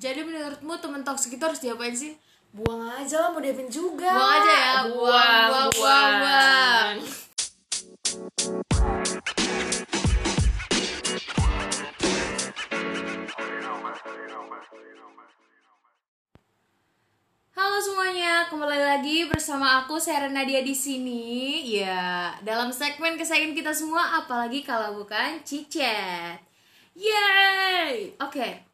Jadi menurutmu temen toksik itu harus diapain sih? buang aja lah mau Devin juga Buang aja ya, buang, buang, buang, buang. Halo semuanya, kembali lagi bersama aku Serena Dia di sini. Ya, dalam segmen kesayangan kita semua apalagi kalau bukan Cicet. Yeay! Oke.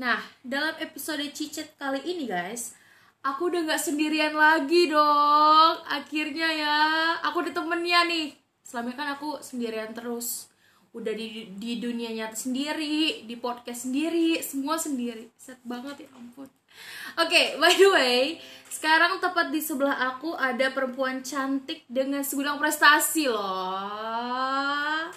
Nah, dalam episode Cicet kali ini, guys, aku udah nggak sendirian lagi dong. Akhirnya ya, aku ditemennya nih. Selama ini kan aku sendirian terus. Udah di, di dunia nyata sendiri, di podcast sendiri, semua sendiri. Set banget ya ampun. Oke, by the way, sekarang tepat di sebelah aku ada perempuan cantik dengan segudang prestasi loh.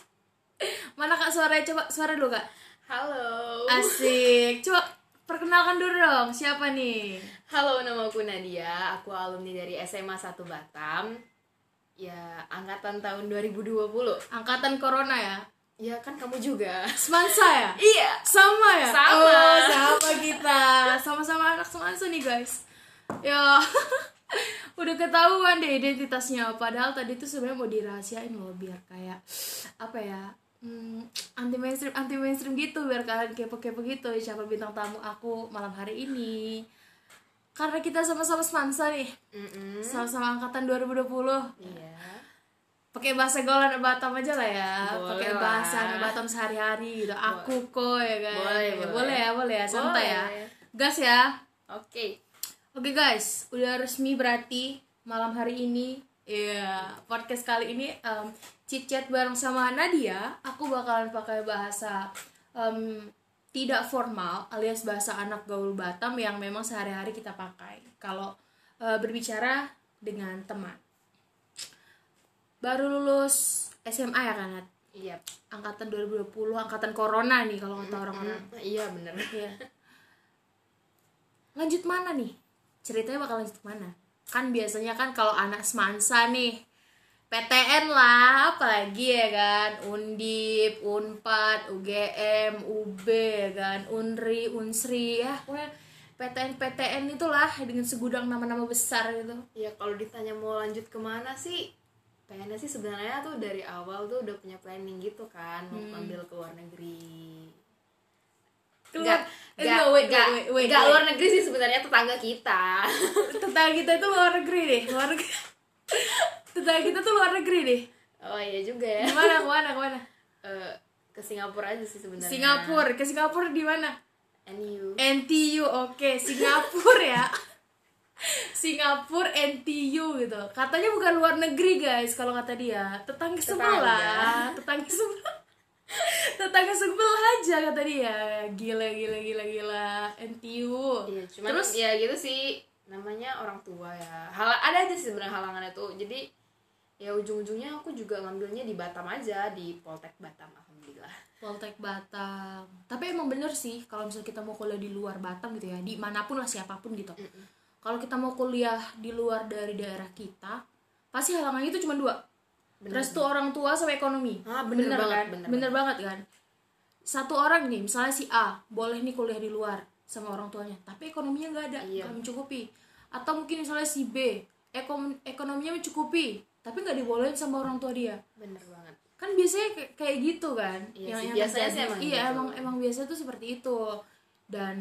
Mana kak suaranya? Coba suara dulu kak. halo Asik. Coba perkenalkan dulu dong, siapa nih? halo nama aku Nadia aku alumni dari SMA 1 Batam ya angkatan tahun 2020 Angkatan Corona ya? ya kan kamu juga Semansa ya? iya Sama ya? Sama. Oh, sama kita. Sama-sama anak semansa nih, guys. Ya. Udah ketahuan deh identitasnya. Padahal tadi tuh sebenarnya mau dirahasiain loh biar kayak apa ya? Hmm, anti mainstream anti mainstream gitu biar kalian kepo-kepo gitu siapa bintang tamu aku malam hari ini. Karena kita sama-sama semansa nih. Mm-mm. Sama-sama angkatan 2020 iya pakai bahasa Golan Batam aja lah ya Boleh pakai lah. bahasa anak Batam sehari-hari gitu aku kok ya guys Boleh, boleh. ya boleh ya santai ya Boleh. gas ya oke oke guys udah resmi berarti malam hari ini Iya, podcast kali ini em chit chat bareng sama Nadia aku bakalan pakai bahasa em, tidak formal alias bahasa anak gaul Batam yang memang sehari-hari kita pakai kalau eh, berbicara dengan teman baru lulus SMA ya kan Nat? iya angkatan 2020 angkatan corona nih kalau kata orang-orang iya bener Iya. lanjut mana nih ceritanya bakal lanjut mana kan biasanya kan kalau anak semansa nih PTN lah apalagi ya kan Undip, Unpad, UGM, UB ya kan Unri, Unsri ya pokoknya PTN-PTN itulah dengan segudang nama-nama besar gitu ya kalau ditanya mau lanjut kemana sih pengennya sih sebenarnya tuh dari awal tuh udah punya planning gitu kan mau ambil ke luar negeri Keluar- eh, gak, no, wait, gak, wait, wait, gak wait. luar negeri sih sebenarnya tetangga kita tetangga kita itu luar negeri deh luar negeri tetangga kita tuh luar negeri deh oh iya juga ya kemana kemana kemana Eh, ke Singapura aja sih sebenarnya Singapura ke Singapura di mana NU NTU oke Singapura ya Singapura NTU gitu katanya bukan luar negeri guys kalau kata dia tetangga sebelah tetangga sebelah tetangga sebelah aja kata dia gila gila gila gila NTU iya cuman Eh, terus ya gitu sih namanya orang tua ya hal ada aja sih sebenarnya halangannya tuh jadi ya ujung-ujungnya aku juga ngambilnya di Batam aja di Poltek Batam alhamdulillah Poltek Batam. Tapi emang bener sih kalau misalnya kita mau kuliah di luar Batam gitu ya, di manapun lah siapapun gitu. Kalau kita mau kuliah di luar dari daerah kita, pasti halangannya itu cuma dua. Restu orang tua sama ekonomi. Ah, bener banget, kan? bener Bener, banget kan? Satu orang nih, misalnya si A boleh nih kuliah di luar sama orang tuanya, tapi ekonominya nggak ada, Iya. nggak mencukupi. Atau mungkin misalnya si B ekom- ekonominya mencukupi, tapi nggak dibolehin sama orang tua dia bener banget kan biasanya kayak, kayak gitu kan Iya sih, biasanya sih terjadi. emang iya gitu. emang emang biasanya tuh seperti itu dan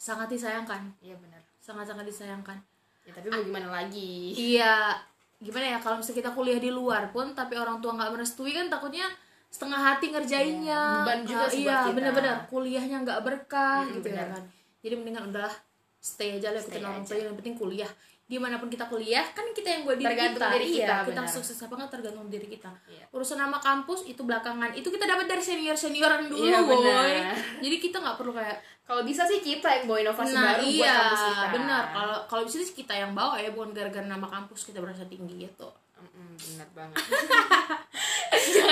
sangat disayangkan iya bener sangat sangat disayangkan ya tapi Ah. mau gimana lagi iya gimana ya kalau misalnya kita kuliah di luar pun tapi orang tua nggak merestui kan takutnya setengah hati ngerjainnya Iya, beban juga Eh, sih iya buat kita. bener-bener kuliahnya nggak berkah Mm-mm, gitu ya bener. kan jadi mendingan udahlah stay aja lah ikutin Stay orang aja. tua yang penting kuliah dimanapun kita kuliah kan kita yang buat diri Tergantung kita diri iya kita, kita benar. sukses apa nggak tergantung diri kita Iya. urusan nama kampus itu belakangan itu kita dapat dari senior senioran dulu Iya, boy benar. jadi kita nggak perlu kayak kalau bisa sih kita yang bawa inovasi nah baru buat iya kampus kita benar kalau kalau bisa sih kita yang bawa ya bukan gara-gara nama kampus kita berasa tinggi gitu Mm-mm, benar banget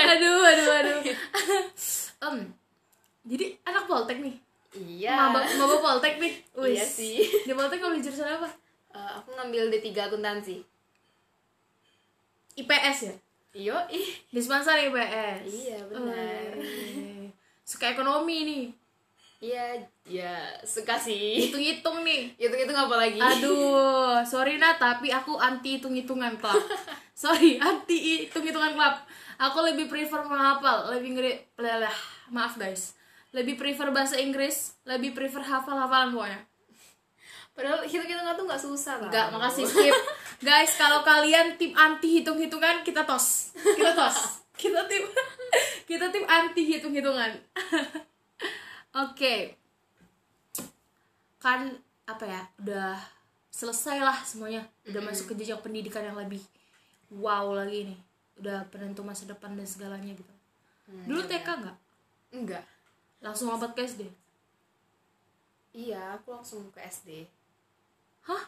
aduh aduh aduh Em, jadi anak poltek nih iya maba maba poltek nih Wis. Iya sih. di poltek ngambil jurusan apa Eh, aku ngambil D3 akuntansi IPS ya iyo ih di Semansa IPS Iya, benar. Wih. suka ekonomi nih Iya, ya suka sih. Hitung-hitung nih. Hitung-hitung apa lagi? Ah. Aduh, sorry Nat, tapi aku anti hitung-hitungan klub. Sorry, anti hitung-hitungan klub. Aku lebih prefer menghafal, lebih ngeri, lelah. Maaf guys. Lebih prefer bahasa Inggris, lebih prefer hafal-hafalan pokoknya. Padahal hitung-hitungan tuh nggak susah lah. Enggak, makasih skip. Guys, kalau kalian tim anti hitung-hitungan, kita tos. Kita tos. Kita tim kita tim anti hitung-hitungan. Oke. Kan apa ya? Udah selesai lah semuanya. Udah masuk ke jenjang pendidikan yang lebih wow lagi nih. Udah penentu masa depan dan segalanya gitu. Dulu TK nggak? Enggak. Langsung lompat ke SD. Iya, aku langsung ke SD. Hah?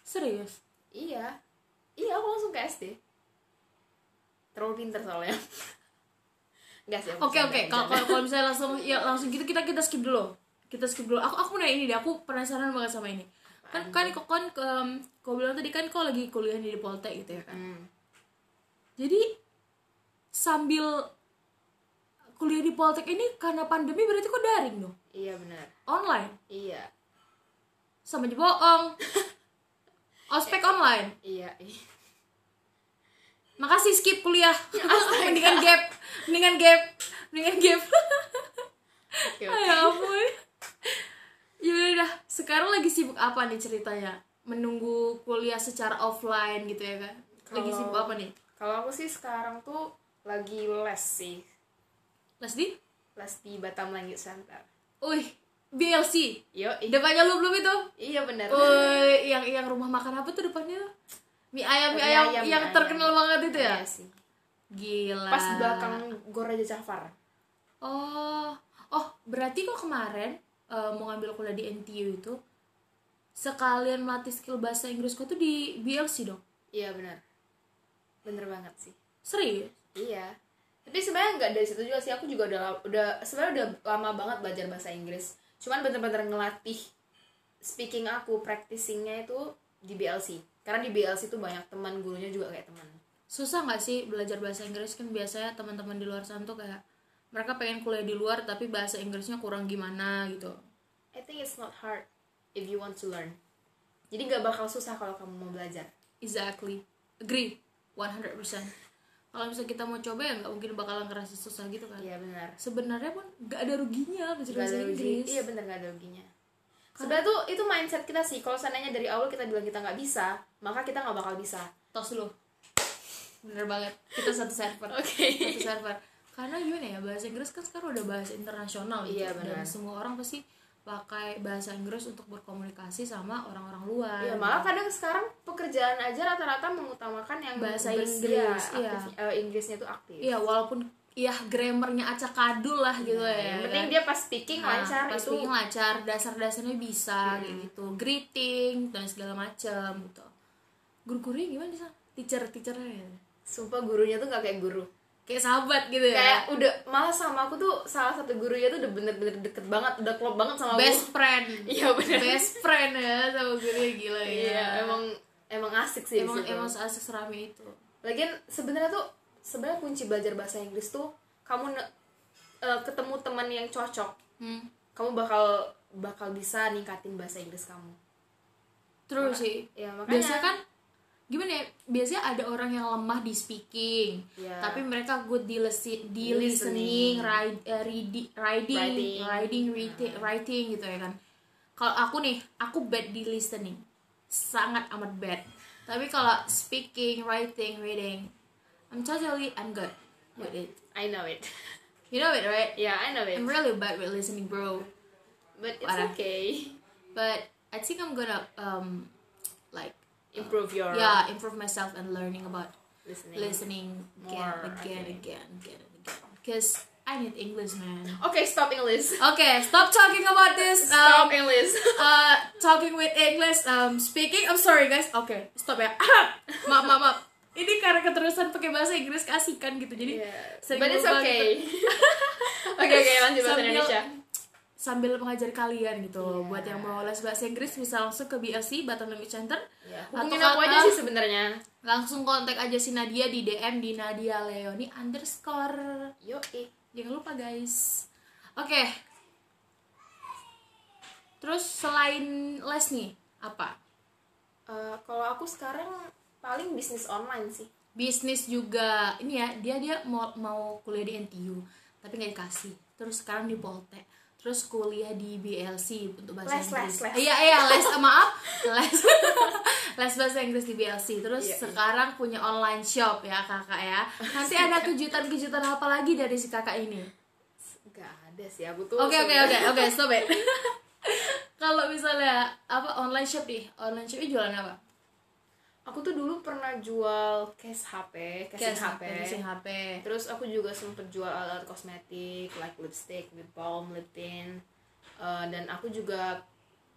Serius? Iya. Iya, aku langsung ke SD. Terlalu pinter soalnya. Enggak sih. aku Oke oke, bercanda, kalau bercanda. kalau kalau misalnya langsung ya langsung gitu kita kita skip dulu. Kita skip dulu. Aku aku mau nanya ini deh, aku penasaran banget sama ini. Kan kan kok kan em, kau bilang tadi kan kau lagi kuliah di Poltek gitu ya kan. Hmm. Jadi sambil kuliah di Poltek ini karena pandemi berarti kok daring dong? Iya benar. Online. Iya. Sama aja bohong. Ospek online. Iya. iya. Makasih skip kuliah. mendingan gap, mendingan gap, mendingan gap. Oke, oke. Ay, ampun. ya udah, sekarang lagi sibuk apa nih ceritanya? Menunggu kuliah secara offline gitu ya kan? Lagi Kalau- sibuk apa nih? Kalau aku sih sekarang tuh lagi les sih. Les di? Les di Batam Language Center. Uih, BLC. Yo, Depannya lu belum itu? iya benar. Uy, yang yang rumah makan apa tuh depannya? Mie ayam, mie, Mie ayam, ayam, yang mie terkenal ayam. banget itu ya? Iya sih. Gila. Pas di belakang Goraja Jafar. Oh, oh berarti kok kemarin eh, mau ngambil kuliah di NTU itu sekalian melatih skill bahasa Inggris kok tuh di BLC dong? Iya benar. Bener banget sih. Serius? Iya. Tapi sebenarnya nggak dari situ juga sih. Aku juga udah la- udah sebenarnya udah lama banget belajar bahasa Inggris. Cuman bener-bener ngelatih speaking aku, practicingnya itu di BLC. Karena di BLC itu banyak teman gurunya juga kayak teman. susah nggak sih belajar bahasa Inggris kan biasanya teman-teman di luar sana tuh kayak mereka pengen kuliah di luar tapi bahasa Inggrisnya kurang gimana gitu I think it's not hard if you want to learn. Jadi nggak bakal susah kalau kamu mau belajar. exactly agree 100% kalau misalnya kita mau coba ya nggak mungkin bakalan ngerasa susah gitu kan Iya benar. sebenarnya pun nggak ada ruginya belajar Nggak bahasa ada rugi. Inggris Iya bener nggak ada ruginya. Sebenarnya tuh itu mindset kita sih. Kalau seandainya dari awal kita bilang kita nggak bisa, maka kita nggak bakal bisa. tos dulu bener banget kita satu server Oke. satu server karena gimana ya bahasa Inggris kan sekarang udah bahasa internasional gitu Iya, dan benar. semua orang pasti pakai bahasa Inggris untuk berkomunikasi sama orang-orang luar Iya, malah kadang sekarang pekerjaan aja rata-rata mengutamakan yang Bahasa bers- Inggris, ya, iya. aktif- eh, Inggrisnya tuh aktif. Iya walaupun ya grammarnya acak kadul lah gitu ya. Iya, yang penting kan? dia Ah, pas speaking Nah, lancar pas itu. Hmm. speaking lancar, dasar-dasarnya bisa kayak gitu. Greeting dan segala macem gitu. Guru-gurunya gimana sih? Teacher-teachernya ya? Sumpah gurunya tuh gak kayak guru. Kayak sahabat gitu ya. Kayak udah malah sama aku tuh salah satu gurunya tuh udah bener-bener deket banget, udah klop banget sama best aku. friend. Iya bener. best friend ya sama gurunya gila ya. Iya, emang emang asik sih. di emang situ. emang seasik serami itu. Lagian sebenarnya tuh sebenarnya kunci belajar bahasa Inggris tuh kamu ne- eh, ketemu teman yang cocok, Hmm. kamu bakal bakal bisa ningkatin bahasa Inggris kamu. Terus sih. Ya makanya. biasanya kan gimana ya biasanya ada orang yang lemah di speaking Iya. tapi mereka good di, lesi- di listening, Listening. ride, eh, readi- riding Writing. Nah. riding writing, writing gitu ya kan kalau aku nih aku bad di listening sangat amat bad tapi kalau speaking writing reading I'm totally I'm good with it I know it. you know it right Yeah, I know it. I'm really bad with listening bro But it's Parah. okay. but I think I'm gonna um like Improve your yeah improve myself and learning about listening. listening again, More, again, okay. again, again, again. Because I need English, man. Okay, stop English. Okay, stop talking about this. Um, Stop English. uh, talking with English. Um, speaking. I'm sorry, guys. Okay, stop ya. maaf, maaf, maaf. Ini karena keterusan pakai bahasa Inggris kasihkan gitu. Jadi Yeah. sering But it's berubah gitu. okay. okay, okay, lanjut bahasa Sambil- Indonesia. sambil mengajari kalian gitu. Iya. Buat yang mau les bahasa Inggris bisa langsung ke BLC Batam Language Center. Yeah. Atau Hubungin aku aja kata- sih sebenarnya. Langsung kontak aja si Nadia di DM di Nadia Leoni underscore. Yo, eh. Jangan lupa guys. Oke, Terus selain les nih, apa? Eh, kalau aku sekarang paling bisnis online sih Bisnis juga. Ini ya, dia dia mau mau kuliah di NTU, tapi nggak dikasih. Terus sekarang di Polte. Terus kuliah di BLC untuk bahasa Les, les, Inggris. les. Iya, iya, les eh, maaf. Les. les bahasa Inggris di BLC. Terus Iya, iya. sekarang punya online shop ya, Kakak ya. Nanti ada kejutan-kejutan apa lagi dari si Kakak ini? nggak ada sih aku tuh Oke oke oke sebenarnya- oke stop it. Kalau misalnya apa online shop nih, online shopnya jualan apa? aku tuh dulu pernah jual case HP casing Kayak HP casing HP. terus aku juga sempet jual alat-alat kosmetik like lipstick lip balm lip tint Eh, dan aku juga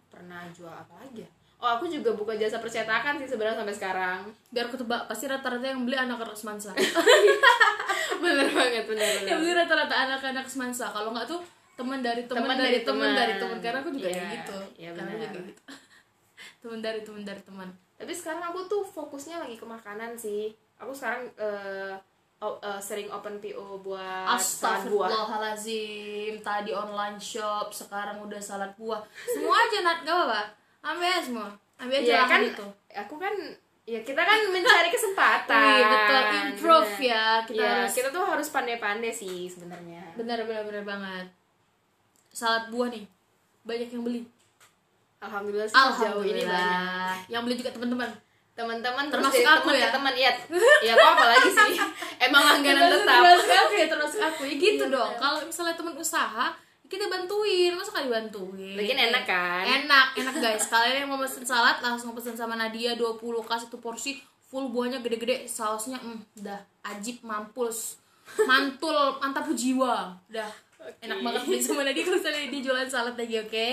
pernah jual apa lagi ya? oh aku juga buka jasa percetakan sih sebenarnya sampai sekarang Biar ketebak, pasti rata-rata yang beli anak-anak semansa. Iya. bener banget bener bener yang beli rata-rata anak-anak semansa. Kalau nggak tuh teman dari teman Teman dari dari teman teman. dari teman karena aku juga Iya, kayak gitu. iya Karena aku benar. juga gitu. teman dari teman dari teman. tapi sekarang aku tuh fokusnya lagi ke makanan sih aku sekarang eh, o- eh, sering open PO buat salad buah Astagfirullahalazim. Tadi online shop, sekarang udah salad buah. Semua aja Nat, gak apa-apa. Ambil aja semua. Ambil aja gitu. Iya lahan kan itu. aku kan ya kita kan mencari kesempatan Wih, betul improve Iya, Bener. ya. Kita Iya, harus kita tuh harus pandai-pandai sih sebenarnya benar benar benar banget. Salad buah nih. Banyak yang beli. alhamdulillah sih sejauh ini banyak Alhamdulillah. Yang beli juga teman-teman. teman-teman terus Termasuk aku dari teman ya. ke teman iya ya kok apalagi sih emang langganan tetap Terus aku ya, terus aku. Ya gitu Iya, dong. benar. Kalau misalnya teman usaha, kita bantuin. Masa kali bantuin? Lagian enak kan? Enak, enak guys. Kalian yang mau pesen salad langsung pesen sama Nadia 20 kas satu porsi full buahnya gede-gede, sausnya mm, dah ajib mampus. Mantul, mantap jiwa. Dah. Iya. Enak banget beli sama Nadia kalau misalnya dia jualan salad lagi, oke?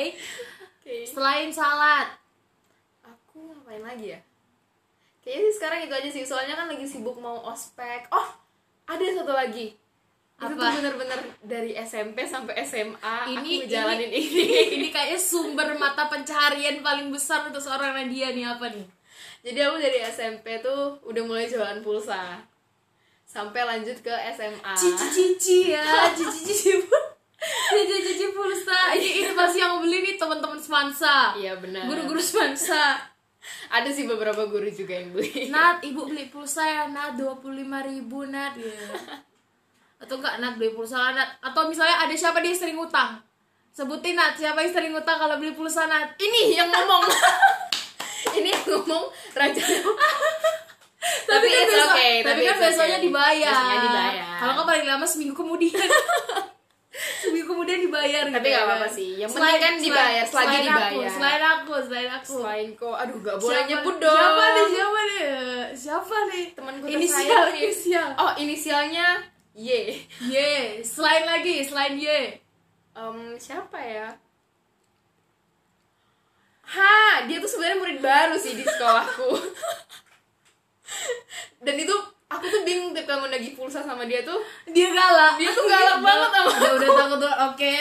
Oke. Selain salad, aku ngapain lagi ya kayaknya sih sekarang itu aja sih soalnya kan lagi sibuk mau ospek oh ada satu lagi Apa? itu tuh bener-bener dari SMP sampai SMA ini Ah, aku jalanin ini, ini kayaknya sumber mata pencaharian paling besar untuk seorang Nadia nih apa nih? jadi aku dari SMP tuh udah mulai jualan pulsa sampai lanjut ke SMA cici cici ya cici cici cici cici pulsa ini ini pasti yang beli nih teman-teman semansa iya benar guru-guru semansa ada sih beberapa guru juga yang beli Nat ibu beli pulsa ya Nat dua ribu Nat ya Iya. atau enggak Nat beli pulsa lah Nat atau misalnya ada siapa dia sering utang sebutin Nat siapa yang sering utang kalau beli pulsa Nat ini yang ngomong ini yang ngomong raja Tapi kan it's besok- okay, tapi, tapi kan it's besoknya okay. dibayar. Besoknya dibayar. Kalau nggak paling lama seminggu kemudian. seminggu kemudian dibayar. Tapi gitu nggak ya apa-apa sih. Yang penting kan dibayar, selagi selain Aku, dibayar. selain aku, selain aku. selain kok aduh gak boleh Siapa- nyebut dong Siapa nih? Siapa nih? Siapa nih? Temanku inisial, tersayang. inisial. oh inisialnya Y Y, selain lagi, selain Y. Em, siapa ya ha dia tuh sebenarnya murid baru sih di sekolahku dan itu aku tuh bingung tiap kamu nagih pulsa sama dia tuh Dia galak. Dia tuh galak banget sama Dia udah takut tuh. Oke.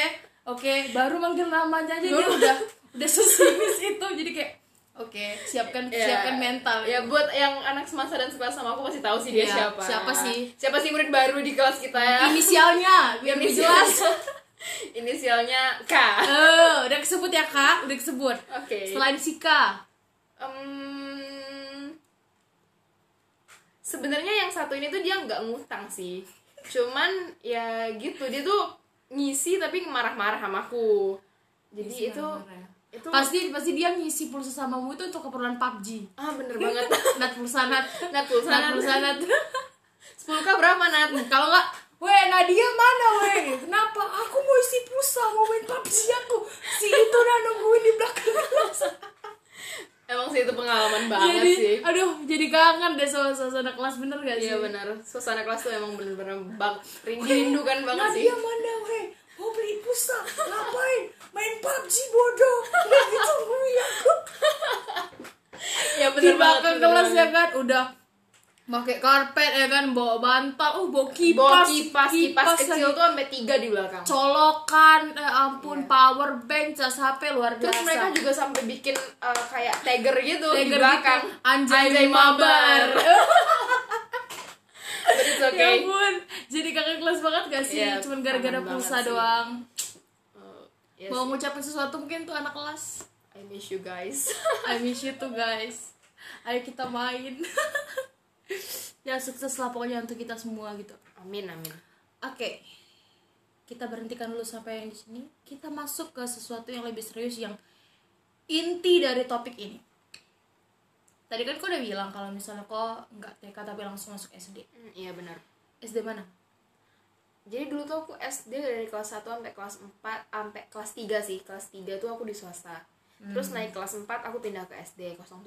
Oke, baru manggil namanya aja dia Baru- udah udah sesimis itu. Jadi kayak oke, siapkan ya, siapkan mental. ya buat yang anak semasa dan sekelas sama aku pasti tahu sih dia Iya, siapa siapa sih? siapa sih murid baru di kelas kita ya inisialnya biar lebih Inisial- jelas inisialnya K Eh, udah disebut ya kak udah disebut oke selain Sika Em, sebenarnya yang satu ini tuh dia nggak ngutang sih cuman ya gitu dia tuh ngisi tapi marah-marah sama aku jadi Isi itu marah-marah. itu pasti pasti dia ngisi pulsa samamu itu untuk keperluan PUBG ah bener banget nat pulsa nat nat pulsa nat pulsa nat sepuluh k berapa nat kalau nggak Weh, Nadia mana weh? Kenapa? Aku mau isi pulsa, mau main PUBG aku. Si itu udah nungguin di belakang kelas. emang sih itu pengalaman banget Jadi, sih aduh, jadi kangen deh sama suasana kelas bener gak sih? Iya benar, suasana kelas tuh emang bener-bener bang Iya. rindukan kan banget sih. Nadia mana weh? Mau beli pulsa, ngapain? Main PUBG bodoh. gitu, Nggak ditungguin aku. Iya Di bener banget. belakang bener kelas ya banget. kan udah pakai karpet ya kan bawa bantal oh bawa kipas Bawa kipas, kipas, kecil lagi. tuh sampai tiga di belakang. colokan eh, ampun power bank cas HP luar biasa Terus mereka juga sampai bikin eh, kayak tiger gitu di Tiger belakang. gitu, anjay, Ya mabar. mabar. But it's ya okay. ampun jadi kakak kelas banget gak sih Iya, cuman gara-gara kangen pulsa banget sih. doang Eh, Iya mau sih. ngucapin sesuatu mungkin tuh anak kelas I miss you guys I miss you too guys ayo kita main ya sukses lah pokoknya untuk kita semua gitu amin amin oke kita berhentikan dulu sampai yang di sini kita masuk ke sesuatu yang lebih serius yang inti dari topik ini tadi kan kau udah bilang kalau misalnya kok nggak TK tapi langsung masuk SD Hmm, iya benar SD mana jadi dulu tuh aku SD dari kelas 1 sampai kelas 4 sampai kelas 3 sih kelas 3 tuh aku di swasta Hmm. terus naik kelas 4 aku pindah ke SD 07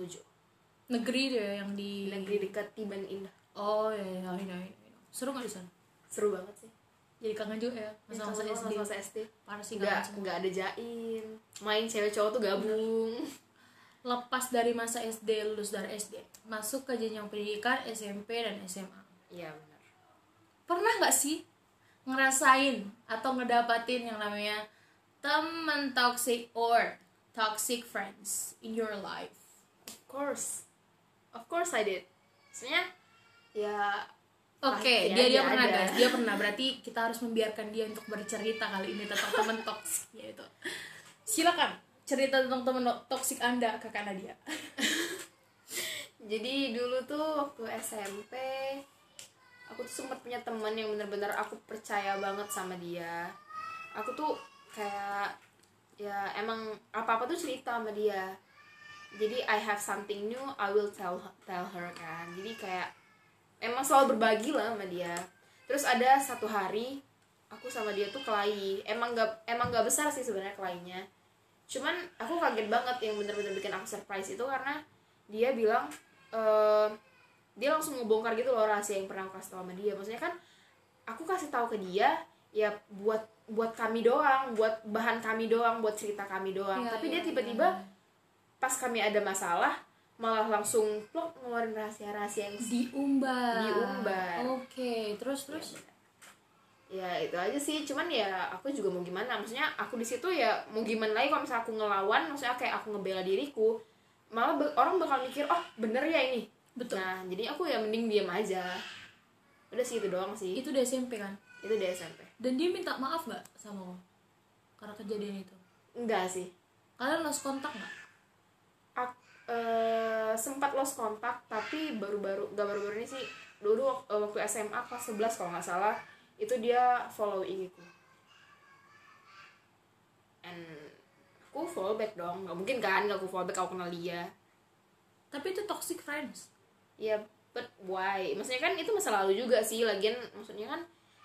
negeri deh yang di negeri dekat Tiban Indah oh ya ya ya, ya, ya. seru nggak di sana seru banget sih jadi kangen juga ya masa-masa Masa-masa SD masa-masa SD parah sih kangen nggak semua. nggak ada jaim main cewek cowok tuh gabung lepas dari masa SD lulus dari SD masuk ke jenjang pendidikan SMP dan SMA iya benar pernah nggak sih ngerasain atau ngedapatin yang namanya temen toxic or toxic friends in your life of course of course I did sebenarnya ya Oke, Pasti dia dia aja pernah ada. guys, dia pernah. Berarti kita harus membiarkan dia untuk bercerita kali ini tentang teman toksik yaitu. Silakan cerita tentang teman no- toksik Anda Kakak Nadia. jadi dulu tuh waktu SMP aku tuh sempat punya teman yang bener-bener aku percaya banget sama dia aku tuh kayak ya emang apa apa tuh cerita sama dia jadi I have something new I will tell tell her kan jadi kayak emang selalu berbagi lah sama dia terus ada satu hari aku sama dia tuh kelahi emang gak emang gak besar sih sebenarnya kelahinya cuman aku kaget banget yang bener-bener bikin aku surprise itu karena dia bilang eh, dia langsung ngebongkar gitu loh rahasia yang pernah aku kasih tau sama dia maksudnya kan aku kasih tahu ke dia ya buat buat kami doang buat bahan kami doang buat cerita kami doang Iya, tapi iya, dia tiba-tiba pas kami ada masalah malah langsung plok ngeluarin rahasia-rahasia yang diumbar. Diumbar. Oke, terus terus. ya itu aja sih cuman ya aku juga mau gimana maksudnya aku di situ ya mau gimana lagi kalau misalnya aku ngelawan maksudnya kayak aku ngebela diriku malah be- orang bakal mikir oh bener ya ini Betul. nah jadi aku ya mending diam aja udah sih itu doang sih Itu di SMP kan? itu dari SMP Dan dia minta maaf nggak sama lo? Karena kejadian itu. enggak sih Kalian lost kontak nggak? Ak- eh, sempat lost kontak tapi baru-baru gak baru-baru ini sih dulu wak- eh, waktu SMA kelas 11 kalau nggak salah itu dia follow IG-ku and aku follow back dong nggak mungkin kan nggak aku follow back aku kenal dia Tapi itu toxic friends. ya but why maksudnya kan itu masa lalu juga sih lagian maksudnya kan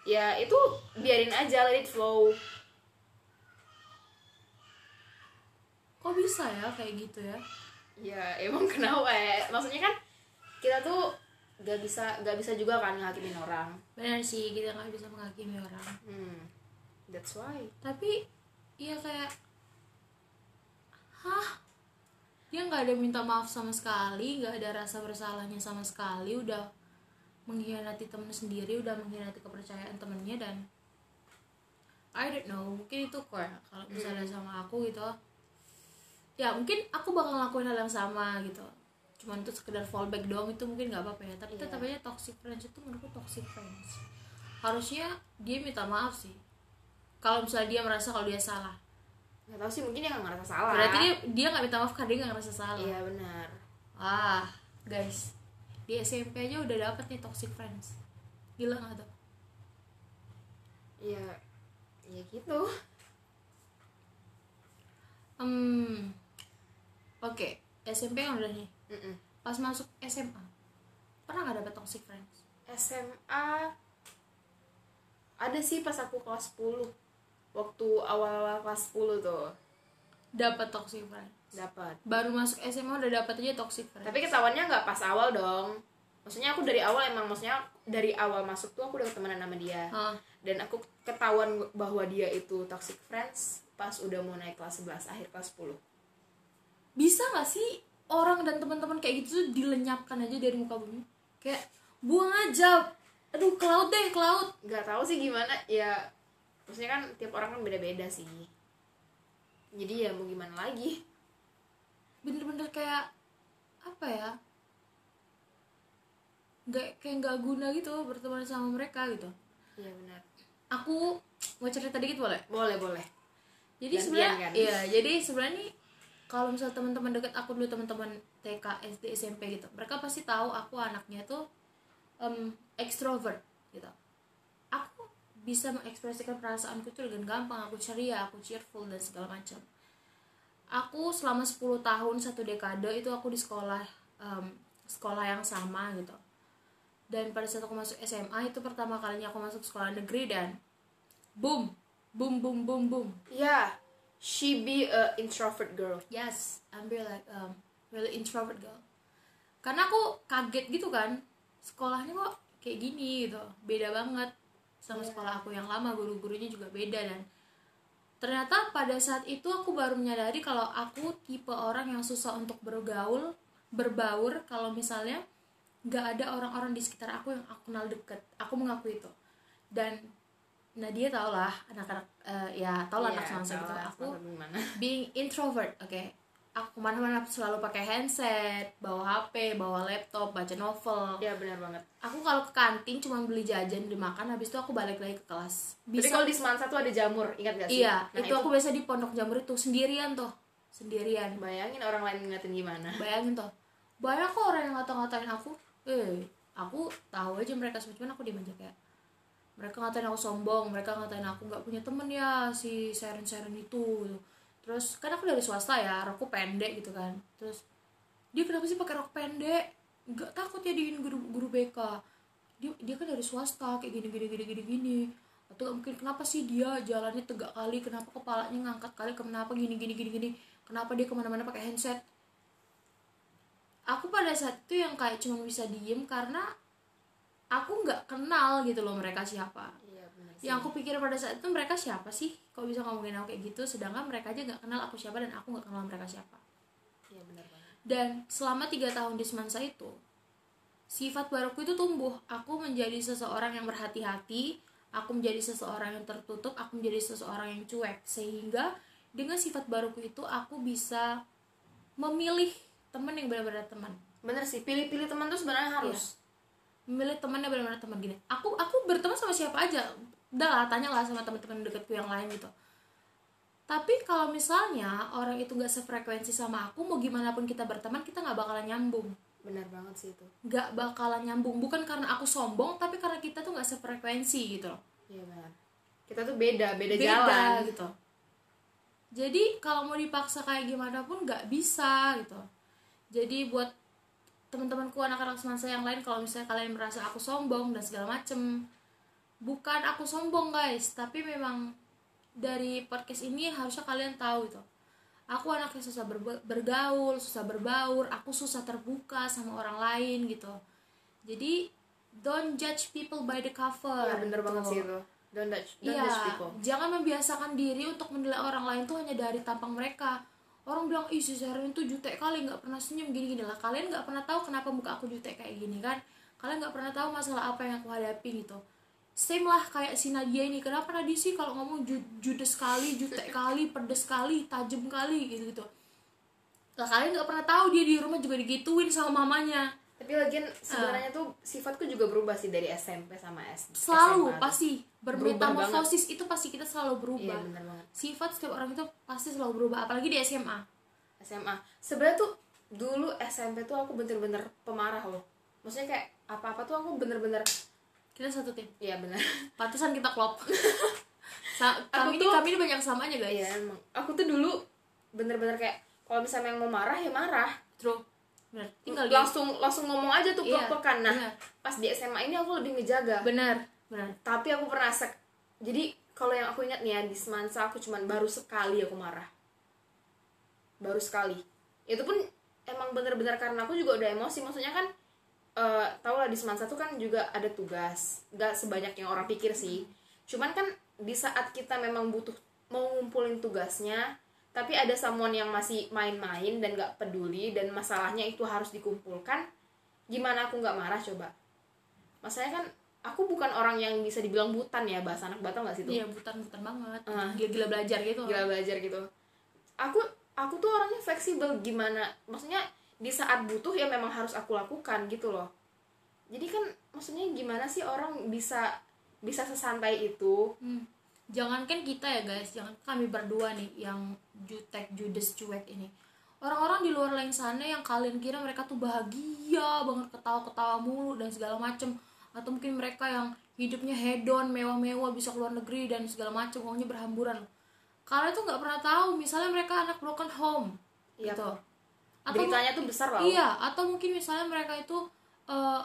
ya itu biarin aja let it flow Kok bisa ya kayak gitu ya? ya emang kenapa ya? maksudnya kan kita tuh gak bisa gak bisa juga kan ngakimin orang Benar sih, kita nggak bisa menghakimi orang. hmm that's why tapi iya kayak hah dia nggak ada minta maaf sama sekali nggak ada rasa bersalahnya sama sekali udah mengkhianati temen sendiri udah mengkhianati kepercayaan temennya dan I don't know mungkin itu core kalau misalnya sama aku gitu ya mungkin aku bakal lakuin hal yang sama gitu cuman itu sekedar fallback doang itu mungkin nggak apa-apa ya tapi Iya. tetap aja toxic friends itu menurutku toxic friends harusnya dia minta maaf sih kalau misalnya dia merasa kalau dia salah nggak tahu sih mungkin dia nggak ngerasa salah berarti dia dia nggak minta maaf karena dia nggak ngerasa salah iya benar ah guys di SMP aja udah dapet nih toxic friends gila nggak tuh iya ya gitu hmm oke SMP yang udah nih Mm-mm. pas masuk SMA pernah nggak dapet toxic friends SMA ada sih pas aku kelas 10 waktu awal-awal kelas 10 tuh dapat toxic friends dapat baru masuk SMA udah dapat aja toxic friends tapi ketahuannya nggak pas awal dong maksudnya aku dari awal emang maksudnya dari awal masuk tuh aku udah temenan sama dia Ah, dan aku ketahuan bahwa dia itu toxic friends pas udah mau naik kelas 11 akhir kelas 10 bisa nggak sih orang dan teman-teman kayak gitu tuh dilenyapkan aja dari muka bumi kayak buang aja aduh ke laut deh ke laut nggak tahu sih gimana ya maksudnya kan tiap orang kan beda-beda sih jadi ya mau gimana lagi bener-bener kayak apa ya nggak kayak nggak guna gitu berteman sama mereka gitu iya benar aku mau cerita dikit boleh boleh boleh jadi Gantian sebenarnya kan? iya jadi sebenarnya nih, kalau misal teman-teman deket aku dulu teman-teman TK SD SMP gitu mereka pasti tahu aku anaknya tuh em, extrovert gitu aku bisa mengekspresikan perasaanku tuh dengan gampang aku ceria aku cheerful dan segala macam aku selama 10 tahun satu dekade itu aku di sekolah em, sekolah yang sama gitu dan pada saat aku masuk SMA itu pertama kalinya aku masuk sekolah negeri dan boom boom boom boom boom Yeah, Iya, she be a introvert girl. yes I'm really like um, really introvert girl karena aku kaget gitu kan sekolahnya kok kayak gini gitu beda banget sama sekolah aku yang lama guru-gurunya juga beda dan ternyata pada saat itu aku baru menyadari kalau aku tipe orang yang susah untuk bergaul berbaur kalau misalnya nggak ada orang-orang di sekitar aku yang aku kenal deket aku mengakui itu dan Nadia tau lah anak-anak eh, ya tau lah Iya, anak semangsa gitu aku Gimana? being introvert oke aku kemana-mana selalu pakai handset bawa hp bawa laptop baca novel Ya benar banget. aku kalau ke kantin cuma beli jajan beli makan habis itu aku balik lagi ke kelas Tapi kalau di Semansa tuh ada jamur, ingat gak sih? iya Nah, itu, aku biasa di pondok jamur itu sendirian tuh sendirian bayangin orang lain ngeliatin gimana. bayangin tuh banyak kok orang yang ngata-ngatain aku eh aku tahu aja mereka semua cuman aku diem aja kayak mereka ngatain aku sombong mereka ngatain aku nggak punya temen ya si Sharon Sharon itu gitu. terus kan aku dari swasta ya rokku pendek gitu kan terus dia kenapa sih pakai rok pendek nggak takut ya diin guru guru BK dia dia kan dari swasta kayak gini gini gini gini gini atau nggak mungkin kenapa sih dia jalannya tegak kali kenapa kepalanya ngangkat kali kenapa gini gini gini gini kenapa dia kemana-mana pakai handset aku pada saat itu yang kayak cuma bisa diem karena aku nggak kenal gitu loh mereka siapa Iya benar. yang aku pikir pada saat itu mereka siapa sih kok bisa ngomongin aku kayak gitu sedangkan mereka aja nggak kenal aku siapa dan aku nggak kenal mereka siapa Iya benar banget. dan selama tiga tahun di semansa itu sifat baruku itu tumbuh aku menjadi seseorang yang berhati-hati aku menjadi seseorang yang tertutup aku menjadi seseorang yang cuek sehingga dengan sifat baruku itu aku bisa memilih teman yang benar-benar teman Bener sih, pilih-pilih teman tuh Iya. sebenarnya harus. memilih temannya benar-benar teman gini aku aku berteman sama siapa aja udah lah tanyalah sama teman-teman dekatku yang lain gitu tapi kalau misalnya orang itu nggak sefrekuensi sama aku mau gimana pun kita berteman kita nggak bakalan nyambung Benar banget sih itu. nggak bakalan nyambung bukan karena aku sombong tapi karena kita tuh nggak sefrekuensi gitu loh Iya benar. Kita tuh beda, beda, beda jalan. gitu jadi kalau mau dipaksa kayak gimana pun nggak bisa gitu jadi buat teman-temanku anak-anak semasa yang lain kalau misalnya kalian merasa aku sombong dan segala macem bukan aku sombong guys tapi memang dari podcast ini harusnya kalian tahu itu aku anaknya susah berbe- bergaul susah berbaur aku susah terbuka sama orang lain gitu jadi don't judge people by the cover Iya benar banget gitu. sih itu. Don't judge, don't Iya, judge people. jangan membiasakan diri untuk menilai orang lain tuh hanya dari tampang mereka. Orang bilang, ih si Sharon itu jutek kali, nggak pernah senyum gini-gini lah. Kalian nggak pernah tahu kenapa muka aku jutek kayak gini kan? Kalian nggak pernah tahu masalah apa yang aku hadapi gitu. Same lah kayak si Nadia ini. Kenapa Nadia sih kalau ngomong ju- judes kali, jutek kali, pedes kali, tajam kali gitu-gitu. Lah kalian nggak pernah tahu dia di rumah juga digituin sama mamanya. Tapi lagian Ah. sebenarnya tuh sifatku juga berubah sih dari SMP sama SD. Selalu SMA. pasti Berubah banget. bermetamorfosis itu pasti kita selalu Iya berubah. benar banget. sifat setiap orang itu pasti selalu berubah apalagi di SMA SMA. Sebenarnya tuh dulu SMP tuh aku bener-bener pemarah loh. Maksudnya kayak apa-apa tuh aku bener-bener kita satu tim Iya benar. pantesan kita klop Sa- kami ini tuh- kami ini banyak kesamaannya guys Iya emang. Aku tuh dulu bener-bener kayak kalau misalnya yang mau marah ya marah. true benar tinggal di langsung langsung ngomong aja tuh Iya, pekan. Nah, benar. pas di SMA ini aku lebih ngejaga. benar benar Tapi aku pernah sek. Jadi kalau yang aku ingat nih ya di semansa aku cuman baru sekali aku marah. Baru sekali. Itu pun emang bener-bener karena aku juga udah emosi. Maksudnya kan eh tau lah di semansa tuh kan juga ada tugas. Gak sebanyak yang orang pikir sih. Cuman kan di saat kita memang butuh mau ngumpulin tugasnya tapi ada someone yang masih main-main dan gak peduli dan masalahnya itu harus dikumpulkan gimana aku nggak marah coba masalahnya kan aku bukan orang yang bisa dibilang butan ya bahasa anak batam nggak sih tuh iya butan butan banget Ah. gila gila belajar gitu gila belajar gitu aku aku tuh orangnya fleksibel gimana maksudnya di saat butuh ya memang harus aku lakukan gitu loh jadi kan maksudnya gimana sih orang bisa bisa sesantai itu Hmm. jangankan kita ya guys jangan kami berdua nih yang jutek judes cuek ini orang-orang di luar lain sana yang kalian kira mereka tuh bahagia banget ketawa-ketawa mulu dan segala macem atau mungkin mereka yang hidupnya hedon mewah-mewah bisa keluar negeri dan segala macem uangnya berhamburan kalian tuh nggak pernah tahu misalnya mereka anak broken home Yap. gitu atau Ya, beritanya tuh besar loh Iya, atau mungkin misalnya mereka itu eh,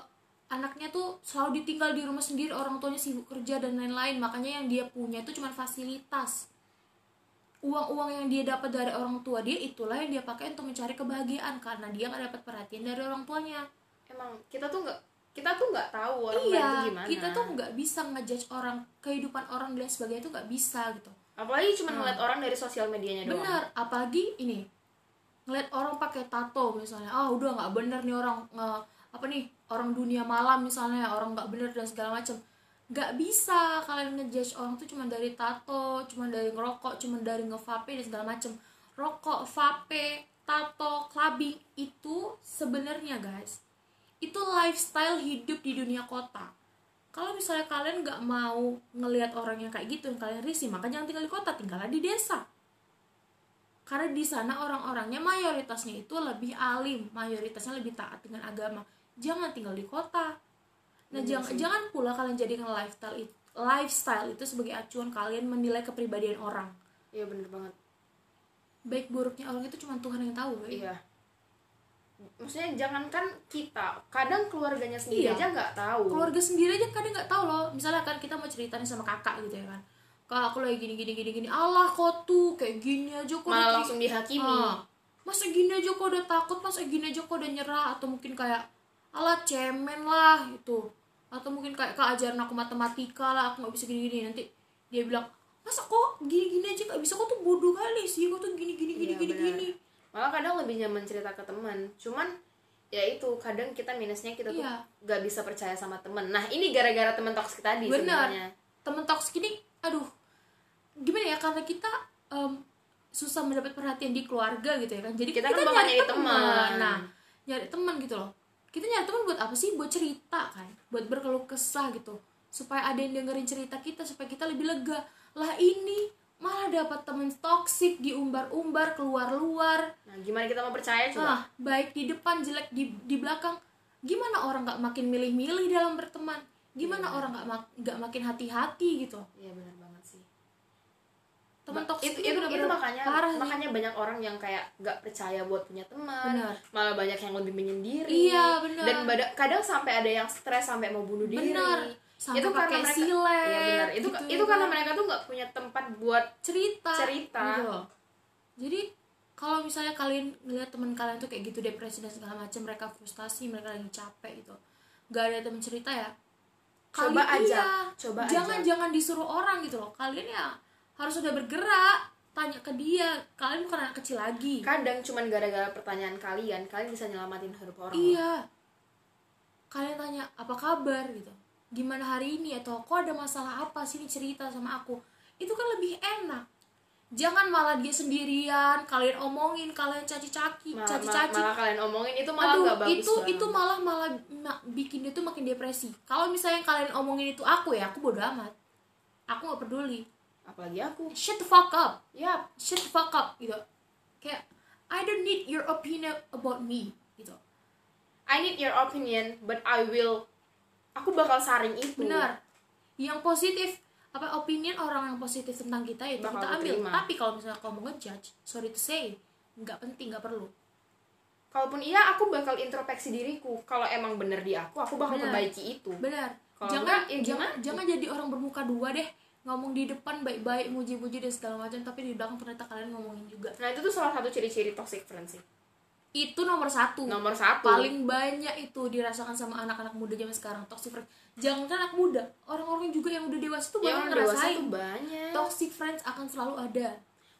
anaknya tuh selalu ditinggal di rumah sendiri, orang tuanya sibuk kerja dan lain-lain. Makanya yang dia punya itu cuma fasilitas. Uang-uang yang dia dapat dari orang tua dia itulah yang dia pakai untuk mencari kebahagiaan karena dia nggak dapat perhatian dari orang tuanya. emang kita tuh nggak kita tuh nggak tahu orang lain iya, tuh gimana kita tuh nggak bisa ngejudge orang kehidupan orang dan lain sebagainya itu nggak bisa gitu. apalagi cuma ngeliat orang dari sosial medianya doang benar apalagi ini ngeliat orang pakai tato misalnya ah udah nggak bener nih orang nge- apa nih orang dunia malam misalnya orang nggak bener dan segala macam nggak bisa kalian ngejudge orang tuh cuma dari tato cuma dari ngerokok cuma dari ngevape dan segala macam rokok vape tato clubbing itu sebenarnya guys itu lifestyle hidup di dunia kota kalau misalnya kalian nggak mau ngelihat orang yang kayak gitu yang kalian risih maka jangan tinggal di kota tinggallah di desa karena di sana orang-orangnya mayoritasnya itu lebih alim, mayoritasnya lebih taat dengan agama. Jangan tinggal di kota. Nah, jangan jangan pula kalian jadikan lifestyle itu, lifestyle itu sebagai acuan kalian menilai kepribadian orang. iya bener banget Baik buruknya orang itu cuma Tuhan yang tahu. Boy. iya maksudnya jangankan kita kadang keluarganya sendiri Iya. aja nggak tahu Keluarga sendiri aja kadang nggak tahu loh. Misalnya kan kita mau ceritain sama kakak gitu ya kan. Kak aku lagi gini gini gini gini. Allah kok tuh kayak gini aja kok udah malah kayak langsung dihakimi Ah, masa gini aja kok udah takut masa gini aja kok udah nyerah atau mungkin kayak ala cemen lah gitu atau mungkin kayak kak ajarin aku matematika lah aku nggak bisa gini gini nanti dia bilang masa kok gini gini aja nggak bisa kok tuh bodoh kali sih kok tuh gini gini gini Iya, gini benar. gini malah kadang lebih nyaman cerita ke teman cuman ya itu kadang kita minusnya kita tuh Iya. nggak bisa percaya sama teman nah ini gara-gara teman toksik tadi benar sebenarnya temen toksik ini aduh gimana ya karena kita em, susah mendapat perhatian di keluarga gitu ya kan jadi Kita kita, kan bakal nyari nyari teman teman. nah nyari teman gitu loh kita nyari teman buat apa sih buat cerita kan buat berkeluh kesah gitu supaya ada yang dengerin cerita kita supaya kita lebih lega lah ini malah dapat temen toksik diumbar-umbar keluar-luar nah gimana kita mau percaya coba ah baik di depan jelek di di belakang gimana orang nggak makin milih-milih dalam berteman gimana orang nggak mak- nggak makin hati-hati gitu iya benar banget sih teman Ma- toksik itu, itu, itu bener-bener makanya parah sih. makanya banyak orang yang kayak nggak percaya buat punya teman Benar. malah banyak yang lebih menyendiri Iya, benar. dan bada- kadang sampai ada yang stres sampai mau bunuh diri Benar. Sampai itu karena pakai mereka silet, iya, benar. itu gitu itu ya. karena mereka tuh nggak punya tempat buat cerita cerita. gitu loh. jadi kalau misalnya kalian ngeliat teman kalian tuh kayak gitu depresi dan segala macam mereka frustasi mereka lagi capek gitu nggak ada teman cerita ya Coba Kalian- ajak, iya. coba jangan ajak. jangan disuruh orang gitu loh kalian ya harus udah bergerak tanya ke dia kalian bukan anak kecil lagi kadang cuman gara-gara pertanyaan kalian kalian bisa nyelamatin hidup orang Iya. Kalian tanya apa kabar gitu. Gimana hari ini atau kok ada masalah apa sini cerita sama aku. Itu kan lebih enak. Jangan malah dia sendirian, kalian omongin, kalian caci-caci, Mal- mal- caci-caci. malah kalian omongin itu malah Aduh, nggak bagus kan? itu banget. itu malah malah ma- bikin dia tuh makin depresi. Kalau misalnya kalian omongin itu aku ya, aku bodo amat. Aku nggak peduli. apalagi aku Shut the fuck up ya shut the fuck up gitu kayak I don't need your opinion about me gitu I need your opinion but I will aku bakal saring itu benar yang positif apa opinion orang yang positif tentang kita itu Bakal kita ambil diterima. tapi kalau misalnya kamu ngejudge sorry to say nggak penting nggak perlu kalaupun iya aku bakal introspeksi diriku kalau emang bener di aku aku bakal Benar. perbaiki itu benar Kalau jangan enggak, ya jangan gimana? jangan jadi orang bermuka dua deh ngomong di depan baik-baik muji-muji dan segala macam tapi di belakang ternyata kalian ngomongin juga nah itu tuh salah satu ciri-ciri toxic friends sih itu nomor satu nomor satu Uh, Ya, paling banyak itu dirasakan sama anak-anak muda zaman sekarang toxic friends jangan kan anak muda orang-orang juga yang udah dewasa tuh yang banyak dewasa ngerasain tuh banyak toxic friends akan selalu ada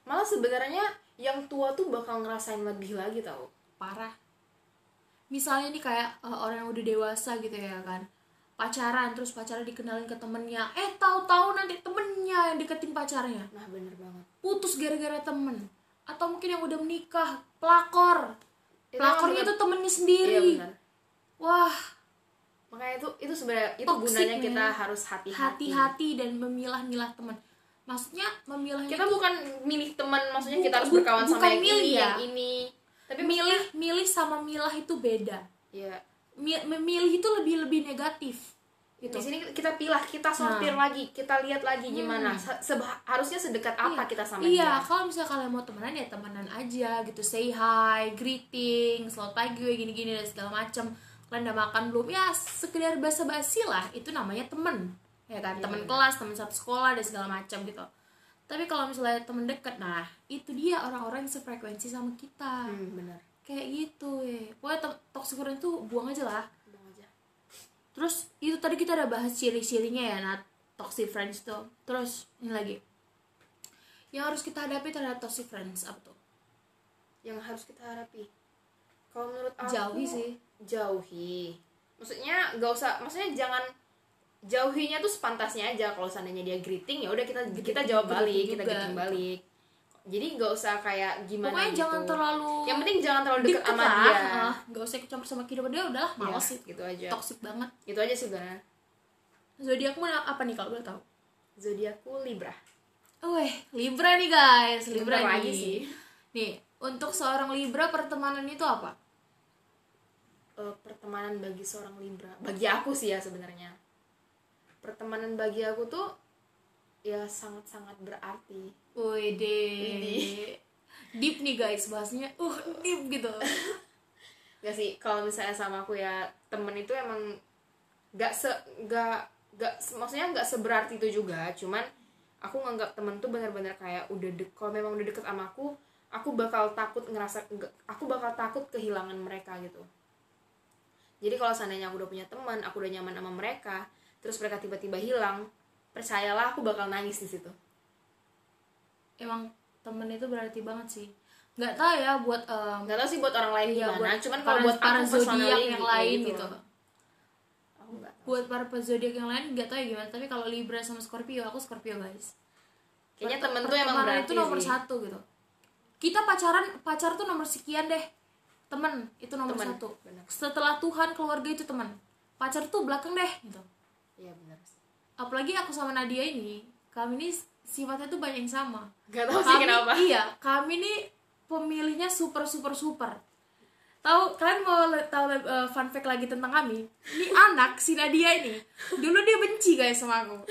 malah sebenarnya yang tua tuh bakal ngerasain lebih lagi tau parah misalnya nih kayak uh, orang yang udah dewasa gitu ya kan pacaran terus pacaran dikenalin ke temennya eh tahu-tahu nanti temennya yang deketin pacarnya nah bener banget putus gara-gara temen atau mungkin yang udah menikah pelakor Itu pelakornya emang itu temennya iya sendiri benar wah makanya itu itu sebenarnya itu Toxic, gunanya kita men. harus hati-hati hati-hati dan memilah-milah teman maksudnya memilihnya kita bukan milih teman maksudnya kita Bukan- harus berkawan bukan sama yang milih ini ya. yang ini tapi milih milih sama milah itu beda ya Mi- memilih itu lebih lebih negatif di gitu sini kita pilah kita sortir Nah. lagi kita lihat lagi gimana Se- seba- harusnya sedekat apa kita sama Hmm. iya dia kalau misalnya kalian mau temenan ya temenan aja gitu say hi greeting selamat pagi gue gini gini dan segala macem kalian udah makan belum ya sekedar basa basi lah itu namanya temen ya Iya, kan temen kelas temen satu sekolah dan segala macam gitu tapi kalau misalnya temen deket nah itu dia orang-orang yang sefrekuensi sama kita hmm, benar kayak gitu ya pokoknya to- toxic friend tuh buang aja lah Bang aja. Terus itu tadi kita udah bahas ciri-cirinya ya, nah toxic friends tuh. Terus ini lagi. Yang harus kita hadapi terhadap toxic friends apa tuh? yang harus kita harapi kalau menurut aku Jauhi sih. jauhi maksudnya gak usah maksudnya jangan jauhinya tuh sepantasnya aja kalau seandainya dia greeting ya udah kita kita jawab greeting balik kita juga. greeting balik jadi gak usah kayak gimana Pokoknya gitu. jangan terlalu yang penting jangan terlalu deket, sama lah. dia Ah, nggak usah ikut campur sama kehidupan dia, udahlah Ya, males sih. gitu aja Toxic banget. itu Gitu aja sih sebenarnya Zodiakmu apa nih kalau boleh tahu? zodiakku libra Weh, Libra nih guys, Libra Bentar nih. lagi sih. Nih, untuk seorang Libra pertemanan itu apa? eh, pertemanan bagi seorang Libra. Bagi aku sih ya sebenarnya. Pertemanan bagi aku tuh ya sangat-sangat berarti. Wede. Widih. Deep nih guys bahasnya. Uh, deep gitu. Gak sih, kalau misalnya sama aku ya temen itu emang gak se gak gak maksudnya gak seberarti itu juga, cuman aku nganggap temen tuh bener-bener kayak udah dek kalau memang udah deket sama aku, aku bakal takut ngerasa nggak- aku bakal takut kehilangan mereka gitu. Jadi kalau seandainya aku udah punya teman, aku udah nyaman sama mereka, terus mereka tiba-tiba hilang, percayalah aku bakal nangis di situ. emang temen itu berarti banget sih nggak tahu ya buat em, Gak tau sih buat orang lain ya, gimana, buat cuman kalau para- buat para aku zodiak personally yang gitu- lain gitu, loh. Aku nggak tahu. buat para zodiak yang lain nggak tahu ya gimana tapi kalau libra sama scorpio aku scorpio guys Kayaknya Perte- temen tuh emang pertemanan berarti itu nomor sih. satu gitu kita pacaran pacar tuh nomor sekian deh temen itu nomor Temen, satu benar. setelah Tuhan keluarga itu teman pacar tuh belakang deh gitu Iya benar sih. apalagi aku sama Nadia ini kami ini sifatnya tuh banyak yang sama Gak tau sih kenapa. Iya, kami ini pemilihnya super super super. Tahu kalian mau le- tahu le- eh, fun fact lagi tentang kami? Ini anak si Nadia ini. Dulu dia benci guys sama aku.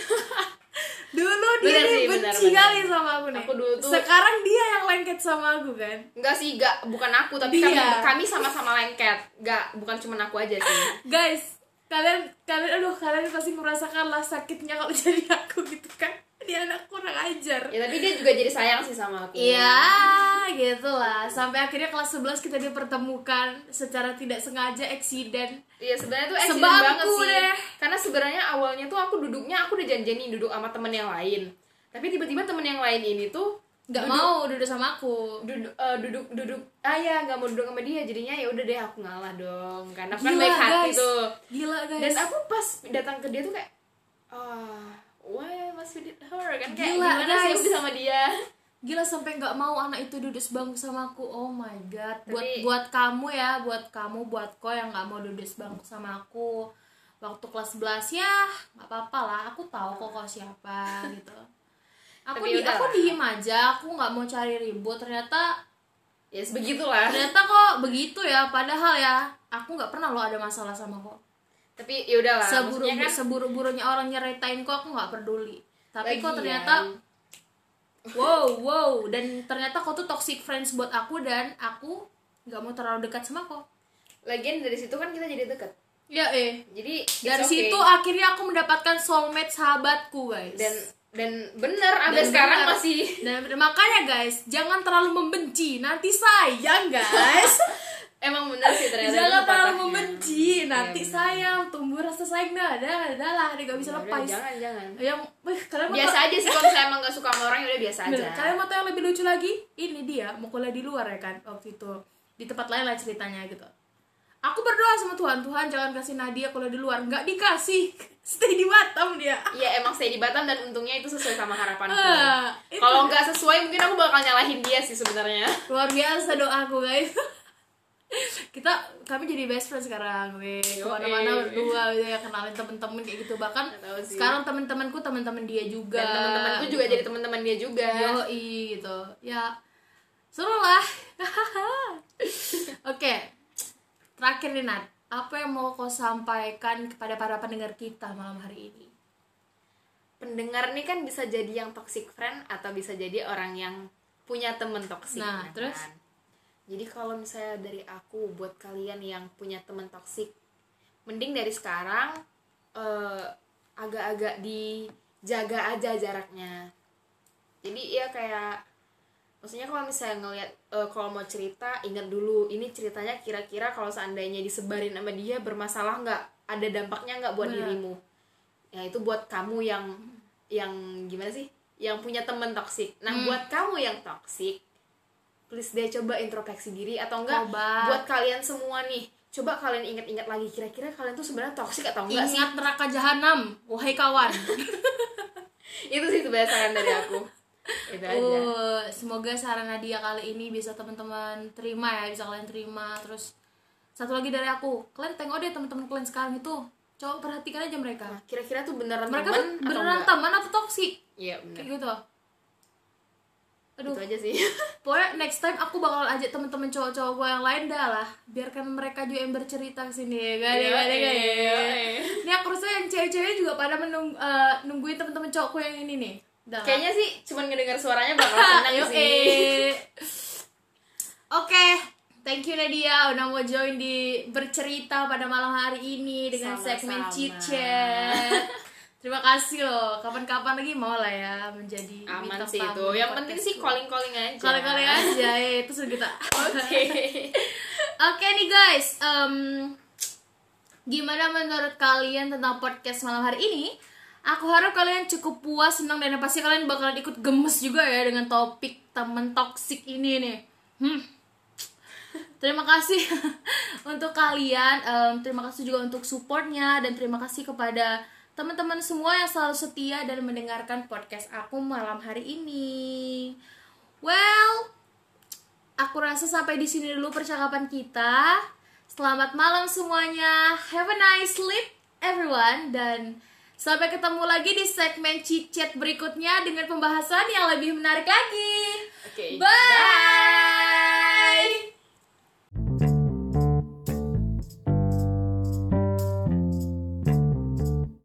Dulu dia, Bener nih sih, bener, benci bener. kali sama aku nih. Aku dulu tuh- Sekarang dia yang lengket sama aku kan. Enggak sih, enggak bukan aku tapi kami, Dia. kami sama-sama lengket. Enggak, bukan cuma aku aja sih. Guys, kalian kalian aduh kalian pasti merasakan lah sakitnya kalau jadi aku gitu kan. Dia anak kurang ajar. Ya tapi dia juga jadi sayang sih sama aku. Iya, gitu lah. Sampai akhirnya kelas 11 kita dipertemukan secara tidak sengaja eksiden. Iya sebenarnya tuh accident Sebab banget aku sih. deh. Karena sebenarnya awalnya tuh aku duduknya aku udah janjian nih duduk sama temen yang lain. Tapi tiba-tiba temen yang lain ini tuh Gak duduk- mau duduk sama aku. duduk eh, duduk duduk ah ya nggak mau duduk sama dia jadinya ya udah deh aku ngalah dong karena aku kan Gila, baik hati guys. tuh Gila, dan guys. aku pas datang ke dia tuh kayak ah why must we did her kan kayak Gila, gimana sih guys. aku sama dia Gila sampai gak mau anak itu duduk sebangku sama aku. Oh my god. Buat Tapi- buat kamu ya, buat kamu, buat ko yang gak mau duduk sebangku sama aku. Waktu kelas 11 ya, gak apa-apa lah. Aku tahu kok kau siapa gitu. Aku Tapi di, aku udahlah. diem aja, aku nggak mau cari ribut. Ternyata ya yes, begitulah ternyata kok begitu ya padahal ya aku nggak pernah loh ada masalah sama kok tapi ya udahlah seburu maksudnya kan seburu-burunya orang nyeretain kok aku nggak peduli tapi kok Lagian. ternyata wow wow dan ternyata kok tuh toxic friends buat aku dan aku nggak mau terlalu dekat sama kok lagian dari situ kan kita jadi deket ya eh jadi it's dari okay. situ akhirnya aku mendapatkan soulmate sahabatku guys dan dan bener Dan sampai sekarang benar. masih dan makanya guys jangan terlalu membenci nanti sayang guys emang bener sih ternyata jangan itu terlalu patahnya. membenci nanti Iya, sayang tumbuh rasa sayang dah ada ada lah ada gak bisa Ya udah, lepas jangan jangan yang eh, kalian mau biasa tau- aja sih kalau saya emang gak suka sama orang ya udah biasa aja Bener, kalian mau tau yang lebih lucu lagi ini dia mau kuliah di luar ya kan waktu itu di tempat lain lah ceritanya gitu aku berdoa sama Tuhan Tuhan jangan kasih Nadia kuliah di luar nggak dikasih stay di Batam dia Iya emang saya di Batam dan untungnya itu sesuai sama harapanku. Ah, itu Kalau nggak sesuai mungkin aku bakal nyalahin dia sih sebenarnya. luar biasa doaku guys kita kami jadi best friend sekarang weh Yo, eh. kemana-mana berdua gitu ya kenalin temen-temen kayak gitu bahkan Nggak tahu sih. sekarang temen-temanku temen-temen dia juga dan teman-temanku juga jadi teman-teman dia juga Yoi gitu ya seru lah oke terakhir nih Nat apa yang mau kau sampaikan kepada para pendengar kita malam hari ini pendengar nih kan bisa jadi yang toxic friend atau bisa jadi orang yang punya temen toksik Nah, ya terus? kan? jadi kalau misalnya dari aku buat kalian yang punya temen toksik mending dari sekarang eh, agak-agak dijaga aja jaraknya jadi ya kayak maksudnya kalau misalnya ngelihat eh, kalau mau cerita ingat dulu ini ceritanya kira-kira kalau seandainya disebarin sama dia bermasalah nggak ada dampaknya nggak buat Benar. dirimu ya itu buat kamu yang yang gimana sih yang punya temen toksik nah Hmm. buat kamu yang toksik please deh coba introspeksi diri atau enggak Coba. buat kalian semua nih coba kalian ingat-ingat lagi kira-kira kalian tuh sebenarnya toksik atau enggak sih ingat neraka jahanam wahai kawan Iya. itu sih sebenarnya saran dari aku itu aja Uh, semoga saran Nadia kali ini bisa teman-teman terima ya, bisa kalian terima. Terus satu lagi dari aku, kalian tengok deh teman-teman kalian sekarang itu, coba perhatikan aja mereka. Nah, kira-kira tuh beneran mereka tuh temen atau beneran enggak? teman atau toksik Iya bener. kayak gitu. Aduh, Itu aja sih. pokoknya next time aku bakal ajak teman-teman cowok-cowok gue yang lain dah lah, biarkan mereka juga yang bercerita kesini ya, gak ada, Iya, gak ada, gak ada. iya, iya. Ini aku rasa yang cewek-cewek juga pada menung, eh, nungguin teman-teman cowokku yang ini nih. Dah lah. Nah, Kayaknya sih cuman ngedengar suaranya bakal Ah, senang yuk, sih. eh. Oke, thank you Nadia udah mau join di bercerita pada malam hari ini dengan Sama-sama. segmen chit-chat. Terima kasih loh. Kapan-kapan lagi mau lah ya menjadi Aman bintang sih tamu itu. di Yang penting sih podcastku. calling-calling aja. Calling-calling aja, eh, itu sudah kita. Oke. Oke nih guys, em, gimana menurut kalian tentang podcast malam hari ini? Aku harap kalian cukup puas, senang dan yang pasti kalian bakalan ikut gemes juga ya dengan topik temen toksik ini nih. Hmm. Terima kasih untuk kalian, em, terima kasih juga untuk supportnya dan terima kasih kepada teman-teman semua yang selalu setia dan mendengarkan podcast aku malam hari ini. Well, aku rasa sampai di sini dulu percakapan kita. Selamat malam semuanya. Have a nice sleep everyone dan sampai ketemu lagi di segmen chit chat berikutnya dengan pembahasan yang lebih menarik lagi. Oke. Bye.